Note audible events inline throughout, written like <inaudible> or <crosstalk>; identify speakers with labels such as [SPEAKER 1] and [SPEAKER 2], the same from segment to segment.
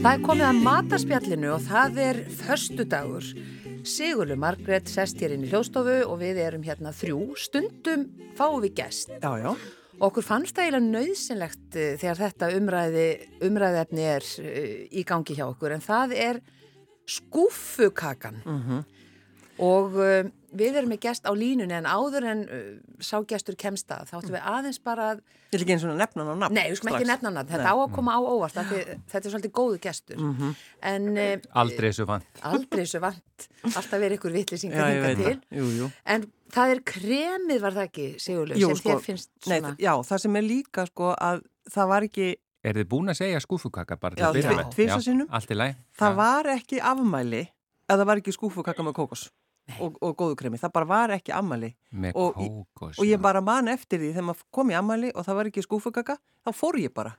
[SPEAKER 1] Það er komið að matarspjallinu og það er föstudagur. Sigurlu Margrét sest hér inn í hljóðstofu og við erum hérna þrjú. Stundum fáum við gest.
[SPEAKER 2] Já, já.
[SPEAKER 1] Okkur fannst það eiginlega nöðsynlegt eh, þegar þetta umræði, umræðefni er eh, í gangi hjá okkur en það er skúfukakan.
[SPEAKER 2] Mhm.
[SPEAKER 1] Og uh, við erum með gest á línunni en áður en uh, sá gestur kemst að þá ætlum við aðeins bara að
[SPEAKER 2] Ég vil ekki eins og nefna hann á nafn.
[SPEAKER 1] Nei, við skulum ekki
[SPEAKER 2] strax. Mm.
[SPEAKER 1] nefna hann, þetta á að koma á óvart af því þetta er svolítið góðu gestur
[SPEAKER 2] Mhm.
[SPEAKER 1] en eh,
[SPEAKER 3] Aldrei þessu fann.
[SPEAKER 1] aldrei svo vant alltaf verið ykkur
[SPEAKER 2] Já,
[SPEAKER 1] vitlýsingar
[SPEAKER 2] ég
[SPEAKER 1] hingað
[SPEAKER 2] veit
[SPEAKER 1] til
[SPEAKER 2] það. Jú, jú.
[SPEAKER 1] en það er kremið var það ekki, Sigurlaug,
[SPEAKER 2] Jú,
[SPEAKER 1] sem
[SPEAKER 2] sko,
[SPEAKER 1] þér finnst
[SPEAKER 2] Nei,
[SPEAKER 1] svona
[SPEAKER 2] þ- já, það sem er líka sko að það var ekki,
[SPEAKER 3] Er þið búin að segja skúfukaka bara til
[SPEAKER 2] Já,
[SPEAKER 3] að byrja
[SPEAKER 1] tvi-
[SPEAKER 3] með?
[SPEAKER 2] tvisvar sinnum.
[SPEAKER 3] Allt í læg.
[SPEAKER 2] það var ekki afmæli að það var ekki skúfukakka með kókos og, og góðukremi. Það bara var ekki afmæli
[SPEAKER 3] Með
[SPEAKER 2] og-
[SPEAKER 3] kókos.
[SPEAKER 2] og ég
[SPEAKER 3] já.
[SPEAKER 2] bara man eftir því þegar maður kom í afmæli og það var ekki skúfukakka, þá fór ég bara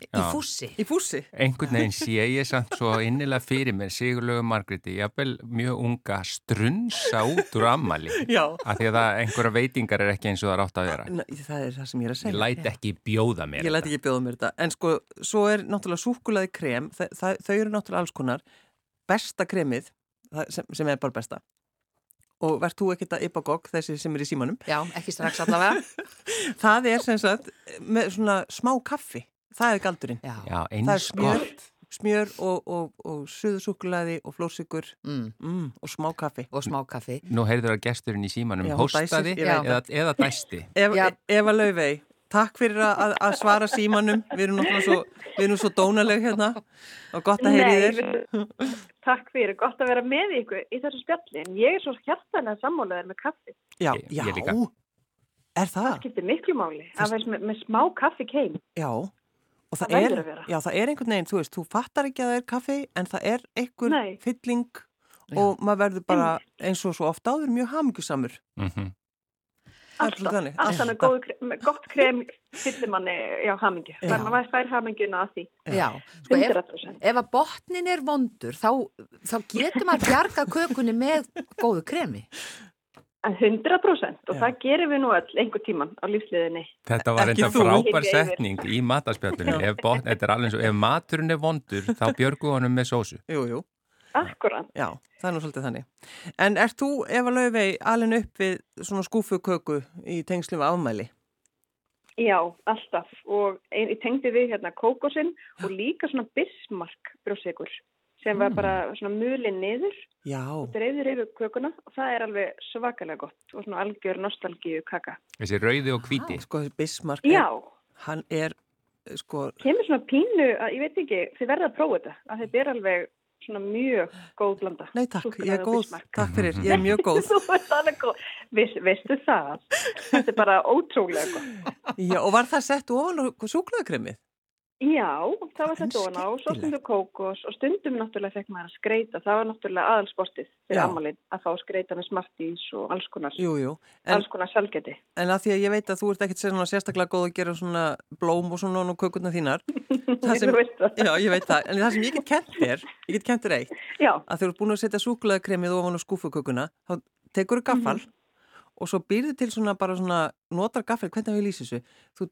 [SPEAKER 1] í
[SPEAKER 3] Já.
[SPEAKER 1] fússi
[SPEAKER 2] í fússi.
[SPEAKER 3] Einhvern veginn sé ég samt svo innilega fyrir mér Sigurlaugu Margréti, jafnvel mjög unga, strunsa út úr ammali.
[SPEAKER 2] Já.
[SPEAKER 3] Af því að það, einhverja veitingar er ekki eins og það er átt að vera.
[SPEAKER 2] Nei, það er það sem ég er að
[SPEAKER 3] Ég
[SPEAKER 2] segja.
[SPEAKER 3] læt ekki bjóða mér.
[SPEAKER 2] Ég læt ekki bjóða mér þetta. En sko, svo er náttúrulega súkkulaði krem, þa þa þau eru náttúrulega alls konar, besta kremið, það- sem, sem er bara besta. Og verð þú ekkert að ypa gogg þessi sem er í símanum.
[SPEAKER 1] Já, ekki strax
[SPEAKER 2] <laughs>
[SPEAKER 1] allavega
[SPEAKER 2] Það er sem sagt eh, með svona smá kaffi. Það er galdurinn.
[SPEAKER 1] Já,
[SPEAKER 3] Já,
[SPEAKER 2] Það er
[SPEAKER 3] eins
[SPEAKER 2] smjör,
[SPEAKER 3] gott.
[SPEAKER 2] smjör og, og, og suðusúkkulaði og flórsikur
[SPEAKER 1] Mm,
[SPEAKER 2] mm, og smá kaffi.
[SPEAKER 1] og smákaffi
[SPEAKER 3] Nú heyrður að gesturinn í símanum
[SPEAKER 2] Já, hún
[SPEAKER 3] hóstaði
[SPEAKER 2] dæsir, ég
[SPEAKER 1] veit
[SPEAKER 3] eða, eða dæsti.
[SPEAKER 2] Ef,
[SPEAKER 1] Já.
[SPEAKER 2] Eva Laufey, takk fyrir að, að- að svara símanum. Við erum náttúrulega svo, við erum svo dónaleg hérna og gott að heyri þér.
[SPEAKER 4] Nei, við- takk fyrir, gott að vera með ykkur í þessu spjallin. Ég er svo hjartanlega sammálaður með kaffi.
[SPEAKER 2] Já,
[SPEAKER 3] Ég-
[SPEAKER 2] já.
[SPEAKER 3] ég líka.
[SPEAKER 2] Er það?
[SPEAKER 4] Það skiptir miklu máli að vera með, með smá kaffi keim.
[SPEAKER 2] Já. Og það,
[SPEAKER 4] Það verður
[SPEAKER 2] er,
[SPEAKER 4] að vera.
[SPEAKER 2] já, það er einhvern veginn, þú veist, þú fattar ekki að það er kaffi en það er einhver
[SPEAKER 4] Nei.
[SPEAKER 2] fylling og maður verður bara eins og svo ofta áður mjög hamingjusamur.
[SPEAKER 3] Mm
[SPEAKER 2] Það er
[SPEAKER 4] Alltaf,
[SPEAKER 2] svolítið þannig.
[SPEAKER 4] alltaf með, góðu, kre- með gott krem fyllir manni á hamingju.
[SPEAKER 2] Já.
[SPEAKER 4] Þannig að maður fær haminguna að því.
[SPEAKER 1] Já, sko ef,
[SPEAKER 4] 100%.
[SPEAKER 1] ef að botnin er vondur þá, þá getur maður bjarga kökunni með góðu kremi
[SPEAKER 4] En 100% og
[SPEAKER 2] Já.
[SPEAKER 4] það gerum við nú öll einhver tíman á lífsliðinni.
[SPEAKER 3] Þetta var
[SPEAKER 2] Ekki
[SPEAKER 3] reynda
[SPEAKER 2] þú.
[SPEAKER 3] frábær
[SPEAKER 4] Ekki yfir.
[SPEAKER 3] setning í matarspjallinu. Ef, botn- þetta er alveg eins og ef maturinn er vondur, þá björgu honum með sósu.
[SPEAKER 2] Jú, jú,
[SPEAKER 4] Akkurat.
[SPEAKER 2] já, það er nú svolítið þannig. En ert þú, Eva Laufey, alveg upp við svona skúfuköku í tengslu við afmæli?
[SPEAKER 4] Já, alltaf. Og ein, ég tengdi við hérna kókosinn og líka svona bismark brjósigur sem
[SPEAKER 2] Mm.
[SPEAKER 4] var bara svona mulin niður
[SPEAKER 2] Já,
[SPEAKER 4] dreifður yfir kökuna og það er alveg svakalega gott og svona algjör nostalgíu kaka.
[SPEAKER 3] Þessi rauði og hvíti.
[SPEAKER 2] sko Bismarck,
[SPEAKER 4] Já,
[SPEAKER 2] er, hann er, sko,
[SPEAKER 4] kemur svona pínu að ég veit ekki, þið verða að prófa þetta að þetta er alveg svona mjög góð blanda.
[SPEAKER 2] nei takk,
[SPEAKER 4] Súkkulaði
[SPEAKER 2] ég er
[SPEAKER 4] og
[SPEAKER 2] góð,
[SPEAKER 4] Bismarck.
[SPEAKER 2] takk fyrir, ég er mjög góð.
[SPEAKER 4] <laughs> Þú ert alveg góð. Viss, veistu það? Þetta er bara ótrúlega gott.
[SPEAKER 2] Já, og var það sett ofan á súklaðakremið?
[SPEAKER 4] Já, það
[SPEAKER 2] En
[SPEAKER 4] var þetta ofan á, svo
[SPEAKER 2] skemmtilegt.
[SPEAKER 4] stundu kókos og stundum náttúrulega fekk maður að skreita. Það var náttúrulega aðalsportið fyrir
[SPEAKER 2] Já.
[SPEAKER 4] ammalinn að fá skreita með smartís og alls konar,
[SPEAKER 2] Jú, jú. En,
[SPEAKER 4] alls konar salgeti.
[SPEAKER 2] En að því að ég veit að þú ert ekkert svona sérstaklega góð að gera svona blóm og svona og kökurna
[SPEAKER 4] <laughs>
[SPEAKER 2] þínar. Það sem,
[SPEAKER 4] Þú veist það.
[SPEAKER 2] já, ég veit það. En það sem ég get kent þér, ég get kent þér eitt,
[SPEAKER 4] Já,
[SPEAKER 2] að þegar þú ert búin að setja súkulaðakremið ofan á skúfukökuna, þá tekur þú gaffal
[SPEAKER 4] Mhm.
[SPEAKER 2] og svo býrðu til svona bara svona, notar gaffal, hvernig við lýsum þessu? Þú,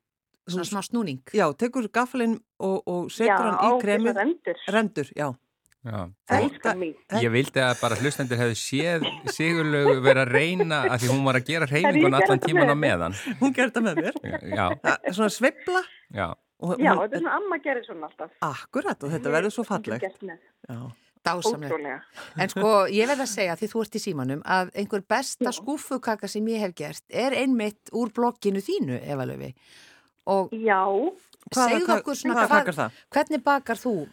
[SPEAKER 1] svona smá snúning
[SPEAKER 2] já, tekur gaffalinn og, og
[SPEAKER 4] já,
[SPEAKER 2] setur hann í kremið,
[SPEAKER 4] það endur.
[SPEAKER 2] rendur, já.
[SPEAKER 3] Já.
[SPEAKER 2] Þetta,
[SPEAKER 4] Elskar mín.
[SPEAKER 3] Ég vildi að bara hlustendur hefðu séð Sigurlaugu vera að reyna að því hún var að gera hreyfinguna
[SPEAKER 4] Herri, ég
[SPEAKER 3] allan
[SPEAKER 4] gerði
[SPEAKER 3] tíman á
[SPEAKER 4] það.
[SPEAKER 3] meðan.
[SPEAKER 2] hún gerði þetta með mér.
[SPEAKER 3] Já,
[SPEAKER 2] Það, er svona sveifla.
[SPEAKER 3] já.
[SPEAKER 2] og
[SPEAKER 4] Já,
[SPEAKER 2] hún-
[SPEAKER 4] þetta er svona amma gerir svona alltaf.
[SPEAKER 2] Akkurat og þetta verður svo fallegt.
[SPEAKER 4] Gert með,
[SPEAKER 2] Já.
[SPEAKER 1] dásamlega
[SPEAKER 4] Ótrúlega.
[SPEAKER 1] En sko, ég verð að segja, því þú ert í símanum, að einhver besta skúfukaka sem ég hef gert er einmitt úr blokkinu þínu, Eva Löfi. Og
[SPEAKER 4] Já,
[SPEAKER 1] segðu okkur svona,
[SPEAKER 2] hvað, hvað, hvað,
[SPEAKER 1] hvernig bakar þú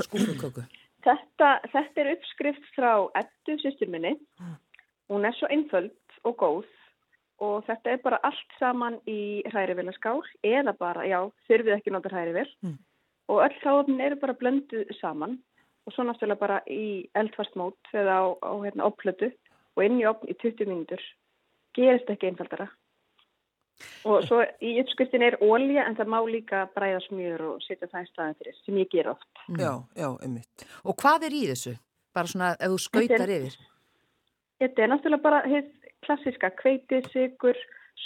[SPEAKER 1] skúfuköku?
[SPEAKER 4] þetta, þetta er uppskrift frá Eddu sýstur minni. Hún er svo einföld og góð og þetta er bara allt saman í hrærivélaskál eða bara, já, þurfið ekki að nota hrærivél
[SPEAKER 2] Mm.
[SPEAKER 4] og öll hráfn eru bara blönduð saman og svo náttúrulega bara í eldfast mót eða á, á hérna, opplötu og inn í opn í 20 mínútur gerist ekki einfaldara. Og svo í uppskriftin er ólja en það má líka bræða
[SPEAKER 1] Mm.
[SPEAKER 4] smjör og setja það í staðin fyrir sem ég ger oft.
[SPEAKER 2] Já, já, einmitt.
[SPEAKER 1] Og hvað er í þessu? bara svona ef þú skautar yfir
[SPEAKER 4] Þetta er náttúrulega bara hið klassiska kveiti, sigur,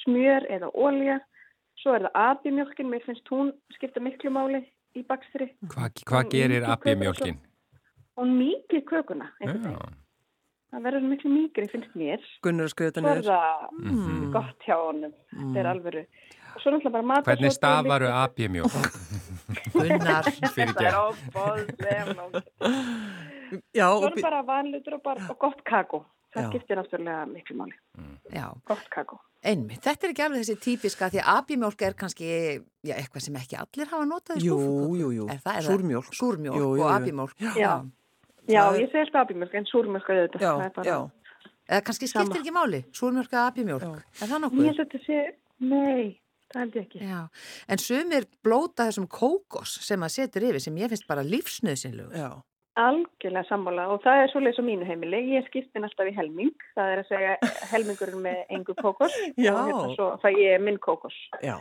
[SPEAKER 4] smjör eða ólja. Svo er það abimjölkin, mér finnst hún skipta miklu máli í bakstri.
[SPEAKER 3] Hvað hva gerir abimjólkin?
[SPEAKER 4] Hún mýkir kökuna,
[SPEAKER 3] Já,
[SPEAKER 4] einhvern veginn. Það verður miklu mýkri, finnst mér.
[SPEAKER 2] Gunnar að skrifa þetta
[SPEAKER 4] Svo er
[SPEAKER 2] niður.
[SPEAKER 4] það
[SPEAKER 3] Mhm.
[SPEAKER 4] gott hjá honum, þetta er alvöru. Og svo náttúrulega bara matur.
[SPEAKER 3] Hvernig stafaru abimjólk?
[SPEAKER 1] Gunnar,
[SPEAKER 4] Það er óbóðlega langt.
[SPEAKER 2] Já,
[SPEAKER 4] Svo
[SPEAKER 2] <laughs> og
[SPEAKER 4] er
[SPEAKER 2] bí-
[SPEAKER 4] bara vanlutur og, bara, og gott kakó. Það
[SPEAKER 2] Já.
[SPEAKER 4] skiptir náttúrulega miklu máli.
[SPEAKER 1] já,
[SPEAKER 4] Gott kakó.
[SPEAKER 1] einmitt þetta er ekki alveg þessi típiska því að abimjólk er kannski já, eitthvað sem ekki allir hafa notað í
[SPEAKER 2] Jú,
[SPEAKER 1] skúffuköku.
[SPEAKER 2] jú, jú.
[SPEAKER 1] Er það, er
[SPEAKER 2] Súrmjólk.
[SPEAKER 1] það, súrmjólk
[SPEAKER 2] Jú, jú,
[SPEAKER 1] og
[SPEAKER 2] jú.
[SPEAKER 1] abimjólk
[SPEAKER 4] Já. Já,
[SPEAKER 2] Það er-
[SPEAKER 4] ég segi alltaf abimjölk en súrmjölk auðvitað.
[SPEAKER 2] já,
[SPEAKER 4] Það er bara-
[SPEAKER 2] já.
[SPEAKER 1] eða kannski skiptir
[SPEAKER 4] Sama.
[SPEAKER 1] ekki máli, súrmjólk eða abimjólk er það
[SPEAKER 4] Ég
[SPEAKER 1] nokkuð?
[SPEAKER 4] held að þetta sé, nei, það held ég ekki.
[SPEAKER 1] Já, en sumir blóta þessum kókos sem að setur yfir sem ég finnst bara lífsnöðsynlegu
[SPEAKER 2] Já,
[SPEAKER 4] Algjörlega sammála og það er svolítið svo mínu heimili. Ég skipti minn alltaf í helming, það er að segja helmingurinn með engu kókos
[SPEAKER 2] Já.
[SPEAKER 4] og hérna svo fæ ég minn kókos.
[SPEAKER 2] já.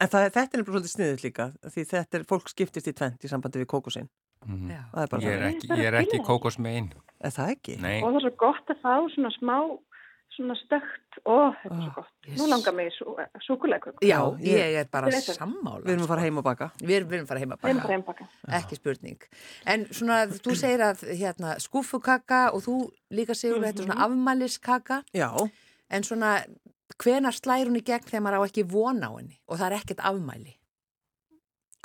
[SPEAKER 2] En það, er- þetta er nefnilega svolítið sniðið líka, því þetta er, fólk skiptist í tvent í sambandi við kókosinn.
[SPEAKER 3] Mhm.
[SPEAKER 1] Já.
[SPEAKER 2] Það er bara
[SPEAKER 3] Ég er
[SPEAKER 2] það.
[SPEAKER 3] ekki, ég er ekki kókos með einn.
[SPEAKER 2] Er það ekki?
[SPEAKER 3] Nei,
[SPEAKER 4] Og það er svo gott að fá svona smá, svona stögt, ó, þetta er svo gott.
[SPEAKER 1] yes.
[SPEAKER 4] Nú langar mig í sú, súkulegkökku.
[SPEAKER 1] Já,
[SPEAKER 2] Já, ég-
[SPEAKER 1] ég er bara
[SPEAKER 4] Þetta er þetta.
[SPEAKER 1] sammála
[SPEAKER 2] Við erum að fara heim og baka.
[SPEAKER 1] Við erum, við erum fara heima
[SPEAKER 4] Þeim bara
[SPEAKER 1] bara,
[SPEAKER 4] einbaka.
[SPEAKER 1] ekki spurning. En svona, þú segir að hérna, skúfukaka og þú líka segur að þetta er
[SPEAKER 2] Mhm.
[SPEAKER 1] svona afmæliskaka,
[SPEAKER 2] Já,
[SPEAKER 1] en svona, hvenar slær hún í gegn þegar maður á ekki von á henni og það er ekkert afmæli?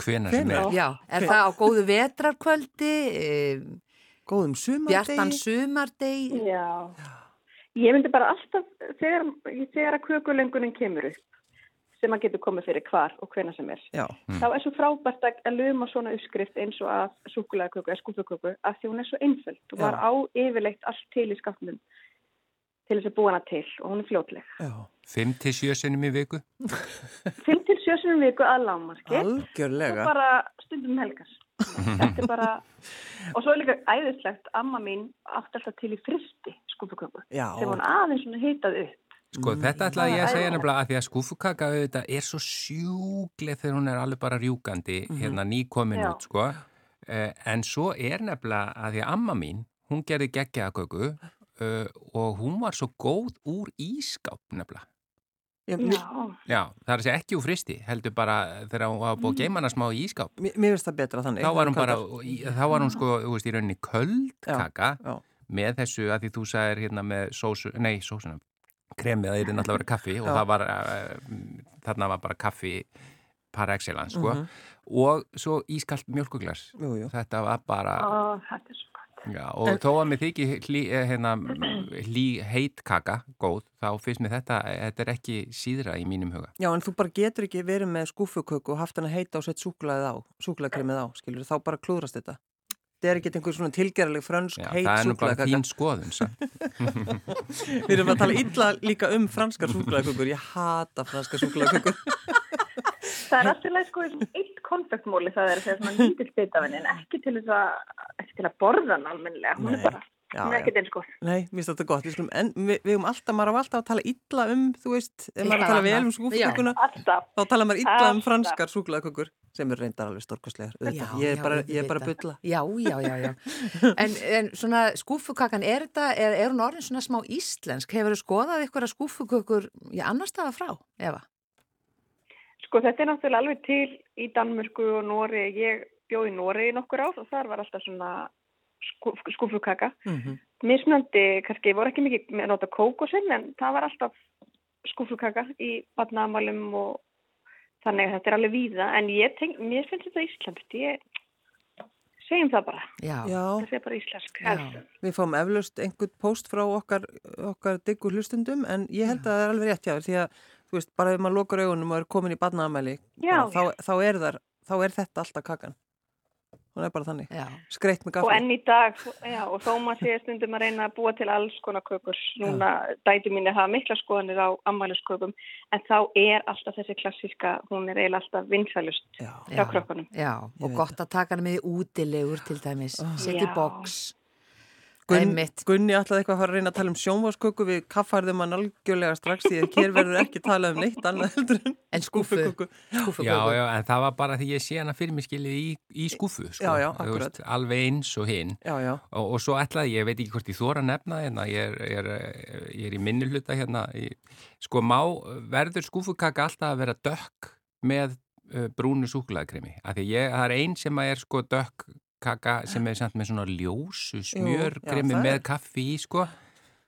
[SPEAKER 3] hvenar sem
[SPEAKER 2] Hvenær?
[SPEAKER 3] er.
[SPEAKER 1] Já, er
[SPEAKER 2] Hve-
[SPEAKER 1] það á góðu vetrarkvöldi, um,
[SPEAKER 2] góðum sumardegi.
[SPEAKER 1] bjartan sumardegi?
[SPEAKER 4] Já. Ég myndi bara alltaf, þegar, þegar að kökulöngunin kemur upp, sem að getur komið fyrir hvar og hvena sem er,
[SPEAKER 2] Já,
[SPEAKER 3] Mm.
[SPEAKER 4] þá er svo frábært að að luma svona uppskrift eins og að súkulæðaköku eða skúfuköku að því hún er svo einföld og
[SPEAKER 2] Já.
[SPEAKER 4] var á yfirleitt allt til í skapnum til þess að búa hana til og hún er fljótleg.
[SPEAKER 2] já.
[SPEAKER 3] 5-7 sinnum í viku?
[SPEAKER 4] Fimm til sjösunum viku að lámarki og
[SPEAKER 2] Algjörlega.
[SPEAKER 4] bara stundum um helgar. Þetta er bara, og svo er líka æðislegt, amma mín átti alltaf til í fristi skúfuköku
[SPEAKER 2] Já. Mm.
[SPEAKER 4] sem hún aðeins svona hitað upp.
[SPEAKER 3] Sko, þetta ætlaði ég að
[SPEAKER 4] Það
[SPEAKER 3] segja
[SPEAKER 4] er æðislegt.
[SPEAKER 3] nefnilega að því að skúfukaka auðvitað er svo sjúgleg þegar hún er alveg bara rjúkandi hérna nýkomin
[SPEAKER 4] Já.
[SPEAKER 3] út, sko. Eh, en svo er nefnilega að því að amma mín, hún gerði geggjaðaköku uh, og hún var svo góð úr ískáp nefnilega.
[SPEAKER 2] Já, mér,
[SPEAKER 4] Já.
[SPEAKER 3] Já, það er að segja ekki úr fristi, heldur bara þegar hún var búið að geima hana smá í ískáp.
[SPEAKER 2] mér mér finnst það betra þannig.
[SPEAKER 3] Þá var hún bara,
[SPEAKER 2] Kakar.
[SPEAKER 3] í- þá var hún sko, þú veist, í rauninni köld
[SPEAKER 2] Já.
[SPEAKER 3] kaka
[SPEAKER 2] Já.
[SPEAKER 3] með þessu að því þú sagðir hérna með sósu, nei, sósunum, kremið, það er náttúrulega að vera kaffi og
[SPEAKER 2] Já.
[SPEAKER 3] það var, uh, þarna var bara kaffi par excellence, sko, og svo ískalt mjölkuglas.
[SPEAKER 2] Mhm. Jú, jú.
[SPEAKER 3] Þetta var bara,
[SPEAKER 4] Ó, þetta er svo gott.
[SPEAKER 3] já, og þó að mér þykir hlý, eh, hérna, hlý heit kaka góð, þá finnst mér þetta, eh, þetta er ekki síðra í mínum huga.
[SPEAKER 2] Já, en þú bara getur ekki verið með skúfuköku og haft hann að heita og sett súklaðið á, súklaðkremið á, skilur, þá bara klúðrast þetta. Það er ekki einhver svona tilgerðarleg frönsk
[SPEAKER 3] Já,
[SPEAKER 2] heit
[SPEAKER 3] það er nú bara
[SPEAKER 2] súklaðkaka.
[SPEAKER 3] þín skoðun, samt.
[SPEAKER 2] Við erum að tala illa líka um franskar súklaðkökur, ég hata franskar
[SPEAKER 3] <laughs>
[SPEAKER 2] súklaðkökur.
[SPEAKER 4] Það er alltaf leið sko í svona eitt konfektmóli það er að segja
[SPEAKER 2] <laughs>
[SPEAKER 4] svona lítill bit af henni en ekki til þess að, ekki til að borða hann almennilega, hún
[SPEAKER 2] Nei.
[SPEAKER 4] er bara,
[SPEAKER 2] Já,
[SPEAKER 4] hún
[SPEAKER 2] já.
[SPEAKER 4] er ekkert eins sko. góð.
[SPEAKER 2] Nei, mér finnst þetta gott, við skulum, en við, við erum alltaf, maður á alltaf að tala illa um, þú veist, ef maður er að
[SPEAKER 1] Eitthvað
[SPEAKER 2] tala vel um
[SPEAKER 1] annað.
[SPEAKER 2] skúfukökuna,
[SPEAKER 4] Alltaf.
[SPEAKER 2] þá tala maður illa um
[SPEAKER 4] Alltaf.
[SPEAKER 2] franskar súklaðkökur, sem er reyndar alveg stórkostlegar, auðvitað. Ég er bara, ég er bara að
[SPEAKER 1] auðvitað.
[SPEAKER 2] bylla.
[SPEAKER 1] Já, já, já, já. En, en svona skúfukakan, er, þetta, er, er hún orðin svona smá íslensk? Hefur þú skoðað ykkur að skúfukökur, já, annars staða frá, Eva?
[SPEAKER 4] Sko þetta er náttúrulega alveg til í Danmörku og Nóri, ég bjó í Nóri í nokkur ár og þar var alltaf svona skúf, skúfukaka.
[SPEAKER 3] Mhm.
[SPEAKER 4] Mismunandi, kannski, ég voru ekki mikið með að nota kókosinn en það var alltaf skúfukaka í badnaðamálum og þannig að þetta er alveg víða en ég tenk, mér finnst þetta íslenskt, ég segjum það bara.
[SPEAKER 1] Já,
[SPEAKER 2] Já,
[SPEAKER 4] Það sé bara íslensk.
[SPEAKER 1] Já.
[SPEAKER 4] helst.
[SPEAKER 2] Við fáum eflaust einhvern post frá okkar, okkar diggu hlustundum en ég held að það er alveg rétt hjá þér því að þú veist, bara ef maður lokar augunum og er komin í badnaðamæli
[SPEAKER 4] Já,
[SPEAKER 2] þá, þá, er þar, þá er þetta alltaf kakan. Hún er bara þannig.
[SPEAKER 1] já.
[SPEAKER 2] Skreitt með
[SPEAKER 4] Og
[SPEAKER 2] gafli.
[SPEAKER 4] enn í dag, já, og þó maður sé stundum að reyna að búa til alls konar kökur. Núna dætu mínu hafa mikla skoðanir á ammæliskökum, en þá er alltaf þessi klassíska, hún er eiginlega alltaf vinsælust
[SPEAKER 2] Já,
[SPEAKER 1] Já.
[SPEAKER 4] hjá krökkunum.
[SPEAKER 1] Já,
[SPEAKER 2] Ég
[SPEAKER 1] og
[SPEAKER 2] veit Ah.
[SPEAKER 1] gott að taka hann með í útilegur til dæmis, setja í
[SPEAKER 4] Já.
[SPEAKER 1] boks.
[SPEAKER 2] Gunn,
[SPEAKER 1] Einmitt.
[SPEAKER 2] Gunni ætlaði eitthvað að fara að reyna að tala um sjónvásköku við kaffarðum hann algjörlega strax því að hér verður ekki talað um neitt annað heldur en
[SPEAKER 1] En skúffu.
[SPEAKER 2] skúffuköku.
[SPEAKER 3] Já,
[SPEAKER 1] skúffuköku.
[SPEAKER 3] já, en það var bara því ég sé hana fyrir mig skilið í, í skúfu, sko.
[SPEAKER 2] Já, já,
[SPEAKER 3] Þú
[SPEAKER 2] akkurat.
[SPEAKER 3] Veist, alveg eins og hinn.
[SPEAKER 2] Já, já,
[SPEAKER 3] Og, og svo ætlaði, ég veit ekki hvort ég þóra nefna hérna, ég er, ég er, ég er í minni hluta hérna. Ég, sko, má verður skúfukaka alltaf að vera dökk með uh, brúnu súkulaðkrimi? Af því ég, það er ein sem að er sko dökk kaka sem er samt með svona ljósu smjörkrimi
[SPEAKER 2] já, það
[SPEAKER 3] með
[SPEAKER 2] er-
[SPEAKER 3] kaffi í, sko,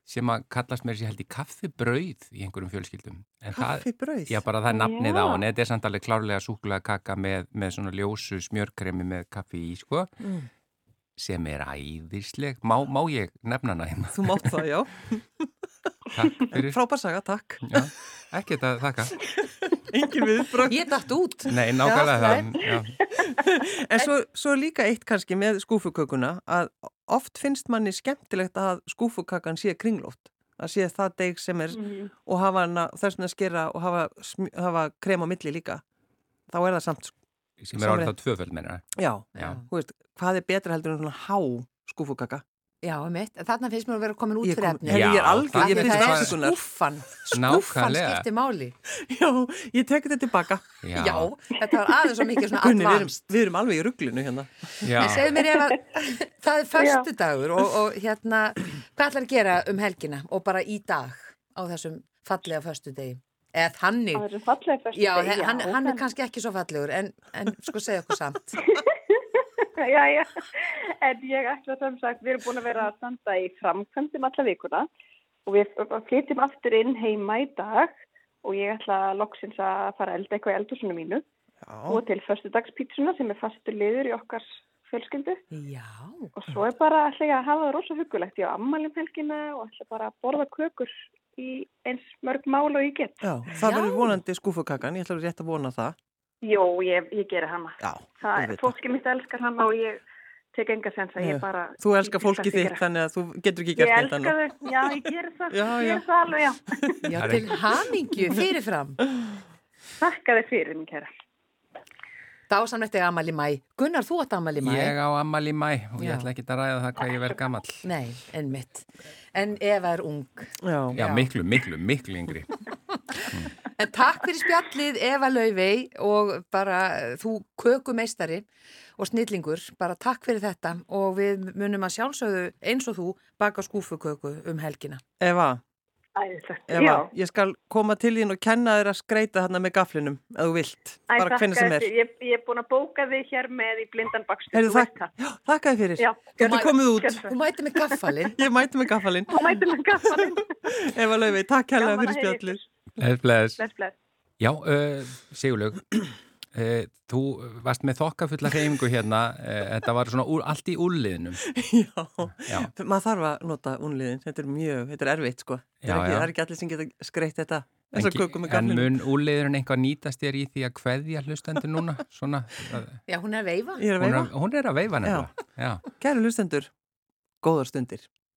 [SPEAKER 3] sem að kallast mér sér held í kaffibrauð í einhverjum fjölskyldum. En það-
[SPEAKER 2] kaffi brauð.
[SPEAKER 3] Já, bara það er nafnið
[SPEAKER 4] Já.
[SPEAKER 3] á henni. Þetta er samt alveg klárlega súkulega kaka með, með svona ljósu smjörkremi með kaffi í, sko,
[SPEAKER 2] Mm.
[SPEAKER 3] sem er æðisleg. Má, má ég nefna hana hérna?
[SPEAKER 2] Þú mátt það, já.
[SPEAKER 3] Takk
[SPEAKER 1] <laughs>
[SPEAKER 3] fyrir.
[SPEAKER 2] Frábærsaga, takk.
[SPEAKER 3] Já, ekki þetta þakka.
[SPEAKER 2] Engin viðbröð.
[SPEAKER 1] Ég datt út.
[SPEAKER 3] Nei, nákvæmlega
[SPEAKER 1] Já,
[SPEAKER 3] það. Já,
[SPEAKER 2] En svo, svo er líka eitt kannski með skúfukökuna að oft finnst manni skemmtilegt að skúfukakan sé kringlótt. Að sé það deg sem er
[SPEAKER 4] Mhm.
[SPEAKER 2] og hafa hana þess vegna skera og hafa, sm- hafa krem á milli líka. Þá er það samt,
[SPEAKER 3] sem er orðið
[SPEAKER 2] Samrætt.
[SPEAKER 3] þá tvöföld, meina.
[SPEAKER 2] já,
[SPEAKER 3] Já.
[SPEAKER 2] þú veist, hvað er betra heldur en svona há skúfukaka?
[SPEAKER 1] Já, mitt. Þarna finnst mér að vera komin út
[SPEAKER 2] Ég
[SPEAKER 1] fyrir
[SPEAKER 2] kom-
[SPEAKER 1] efni.
[SPEAKER 2] Herri, ég
[SPEAKER 3] Já,
[SPEAKER 2] er algjör,
[SPEAKER 3] það-
[SPEAKER 1] Af
[SPEAKER 2] ég
[SPEAKER 1] því
[SPEAKER 2] er
[SPEAKER 1] það er
[SPEAKER 2] afsökunar.
[SPEAKER 1] skúffan. Skúffan
[SPEAKER 3] Nákvæmlega.
[SPEAKER 1] skiptir máli.
[SPEAKER 2] Já, ég tek þetta tilbaka.
[SPEAKER 1] Já. þetta var aðeins svo mikið svona
[SPEAKER 2] Gunni, við erum,
[SPEAKER 1] advanced.
[SPEAKER 2] við erum alveg í rugglinu hérna.
[SPEAKER 3] Já.
[SPEAKER 1] En segðu mér <laughs> ef að það er förstu dagur og, og hérna, hvað ætlar að gera um helgina og bara í dag á þessum fallega förstu degi? Eða
[SPEAKER 4] Það
[SPEAKER 1] þannig,
[SPEAKER 4] verður fallega fyrst.
[SPEAKER 1] já, hann, hann er kannski ekki svo fallegur en, en sko segja okkur samt.
[SPEAKER 4] <laughs> já, já. En ég ætla sem sagt, við erum búin að vera að standa í framkvæmdum alla vikuna og við flytjum aftur inn heima í dag og ég ætla loksins að fara að elda eitthvað í eldursunum mínu
[SPEAKER 2] Já,
[SPEAKER 4] og til förstudagspítsuna sem er fastur liður í okkar fjölskyldu
[SPEAKER 1] <laughs> Já,
[SPEAKER 4] og svo er bara ætla ég að hafa það rosa hugulegt. Ég á ammali um helgina og ætla bara að borða kökur í eins mörg mál og ég get.
[SPEAKER 2] já það
[SPEAKER 1] Já.
[SPEAKER 2] verður vonandi skúfukakan, ég ætla að rétt að vona það.
[SPEAKER 4] Jó, ég, ég geri hana.
[SPEAKER 2] Já,
[SPEAKER 4] Það,
[SPEAKER 2] auðvitað.
[SPEAKER 4] fólki mitt elskar hann og ég tek enga sens að
[SPEAKER 2] Nei,
[SPEAKER 4] ég bara...
[SPEAKER 2] Þú elskar
[SPEAKER 4] ég get
[SPEAKER 2] fólki
[SPEAKER 4] ekki
[SPEAKER 2] þitt
[SPEAKER 4] gera.
[SPEAKER 2] þannig að þú getur ekki
[SPEAKER 4] Ég
[SPEAKER 2] gert neitt
[SPEAKER 4] elska
[SPEAKER 2] annað.
[SPEAKER 4] þau, já, ég ger það,
[SPEAKER 2] Já,
[SPEAKER 4] ég
[SPEAKER 2] já.
[SPEAKER 4] ger það alveg, já.
[SPEAKER 1] já
[SPEAKER 3] Það er
[SPEAKER 1] til hamingju fyrirfram.
[SPEAKER 4] Þakka þið fyrir, minn kæra.
[SPEAKER 1] Dásamlegt er amal í mæ. Gunnar, þú átt amal í mæ.
[SPEAKER 3] Ég á ammal í mæ og ég
[SPEAKER 1] Já.
[SPEAKER 3] ætla ekki að ræða það hvað ég verð gammal.
[SPEAKER 1] Nei, en mitt. En Eva er ung.
[SPEAKER 2] Já,
[SPEAKER 3] Já, miklu, miklu, miklu yngri.
[SPEAKER 1] En takk fyrir spjallið Eva Laufey og bara eh, þú kökumeistari og snillingur, bara takk fyrir þetta og við munum að sjálfsögðu eins og þú baka skúfuköku um helgina.
[SPEAKER 2] Eva,
[SPEAKER 4] Æðislegt,
[SPEAKER 2] Eva,
[SPEAKER 4] já.
[SPEAKER 2] ég skal koma til þín og kenna þér að skreita þarna með gaflinum, ef þú vilt,
[SPEAKER 4] Æ,
[SPEAKER 2] bara hvernig
[SPEAKER 4] þakka
[SPEAKER 2] sem er.
[SPEAKER 4] þér. Ég, ég er búin að bóka þið hér með í blindan bakstu.
[SPEAKER 2] Heyrðu, þak, já, þakka þér fyrir.
[SPEAKER 4] Já.
[SPEAKER 2] Gerðu
[SPEAKER 1] Þú
[SPEAKER 2] komið út.
[SPEAKER 4] Gjörðu
[SPEAKER 1] Þú mæti með gaffalinn.
[SPEAKER 2] Ég mæti með
[SPEAKER 4] <laughs>
[SPEAKER 2] gafalinn.
[SPEAKER 4] Þú mætum að gaffa þið.
[SPEAKER 2] Eva Laufey, takk hérlega fyrir spjallið.
[SPEAKER 3] Bless, bless.
[SPEAKER 4] Bless, bless.
[SPEAKER 3] Já, uh, Sigurlaug, uh, þú varst með þokkafulla hreyfingu hérna, uh, þetta var svona úr, allt í úrliðnum.
[SPEAKER 2] <laughs> Já,
[SPEAKER 3] Já.
[SPEAKER 2] maður þarf að nota únliðin, þetta er mjög, þetta er erfitt sko. Já,
[SPEAKER 3] Já,
[SPEAKER 2] ekki,
[SPEAKER 3] já.
[SPEAKER 2] Það er ekki allir sem geta skreitt þetta,
[SPEAKER 3] En,
[SPEAKER 2] þess að
[SPEAKER 3] ge-
[SPEAKER 2] köku með
[SPEAKER 3] en
[SPEAKER 2] gaflinum.
[SPEAKER 3] mun úrliðurinn eitthvað nýtast þér í því að kveðja hlustendur núna? Svona, að,
[SPEAKER 1] Já, hún er að veifa.
[SPEAKER 2] Ég er að
[SPEAKER 3] hún, er,
[SPEAKER 2] veifa.
[SPEAKER 3] hún er að veifa nefnilega. Já.
[SPEAKER 2] Kæru hlustendur, góðar stundir.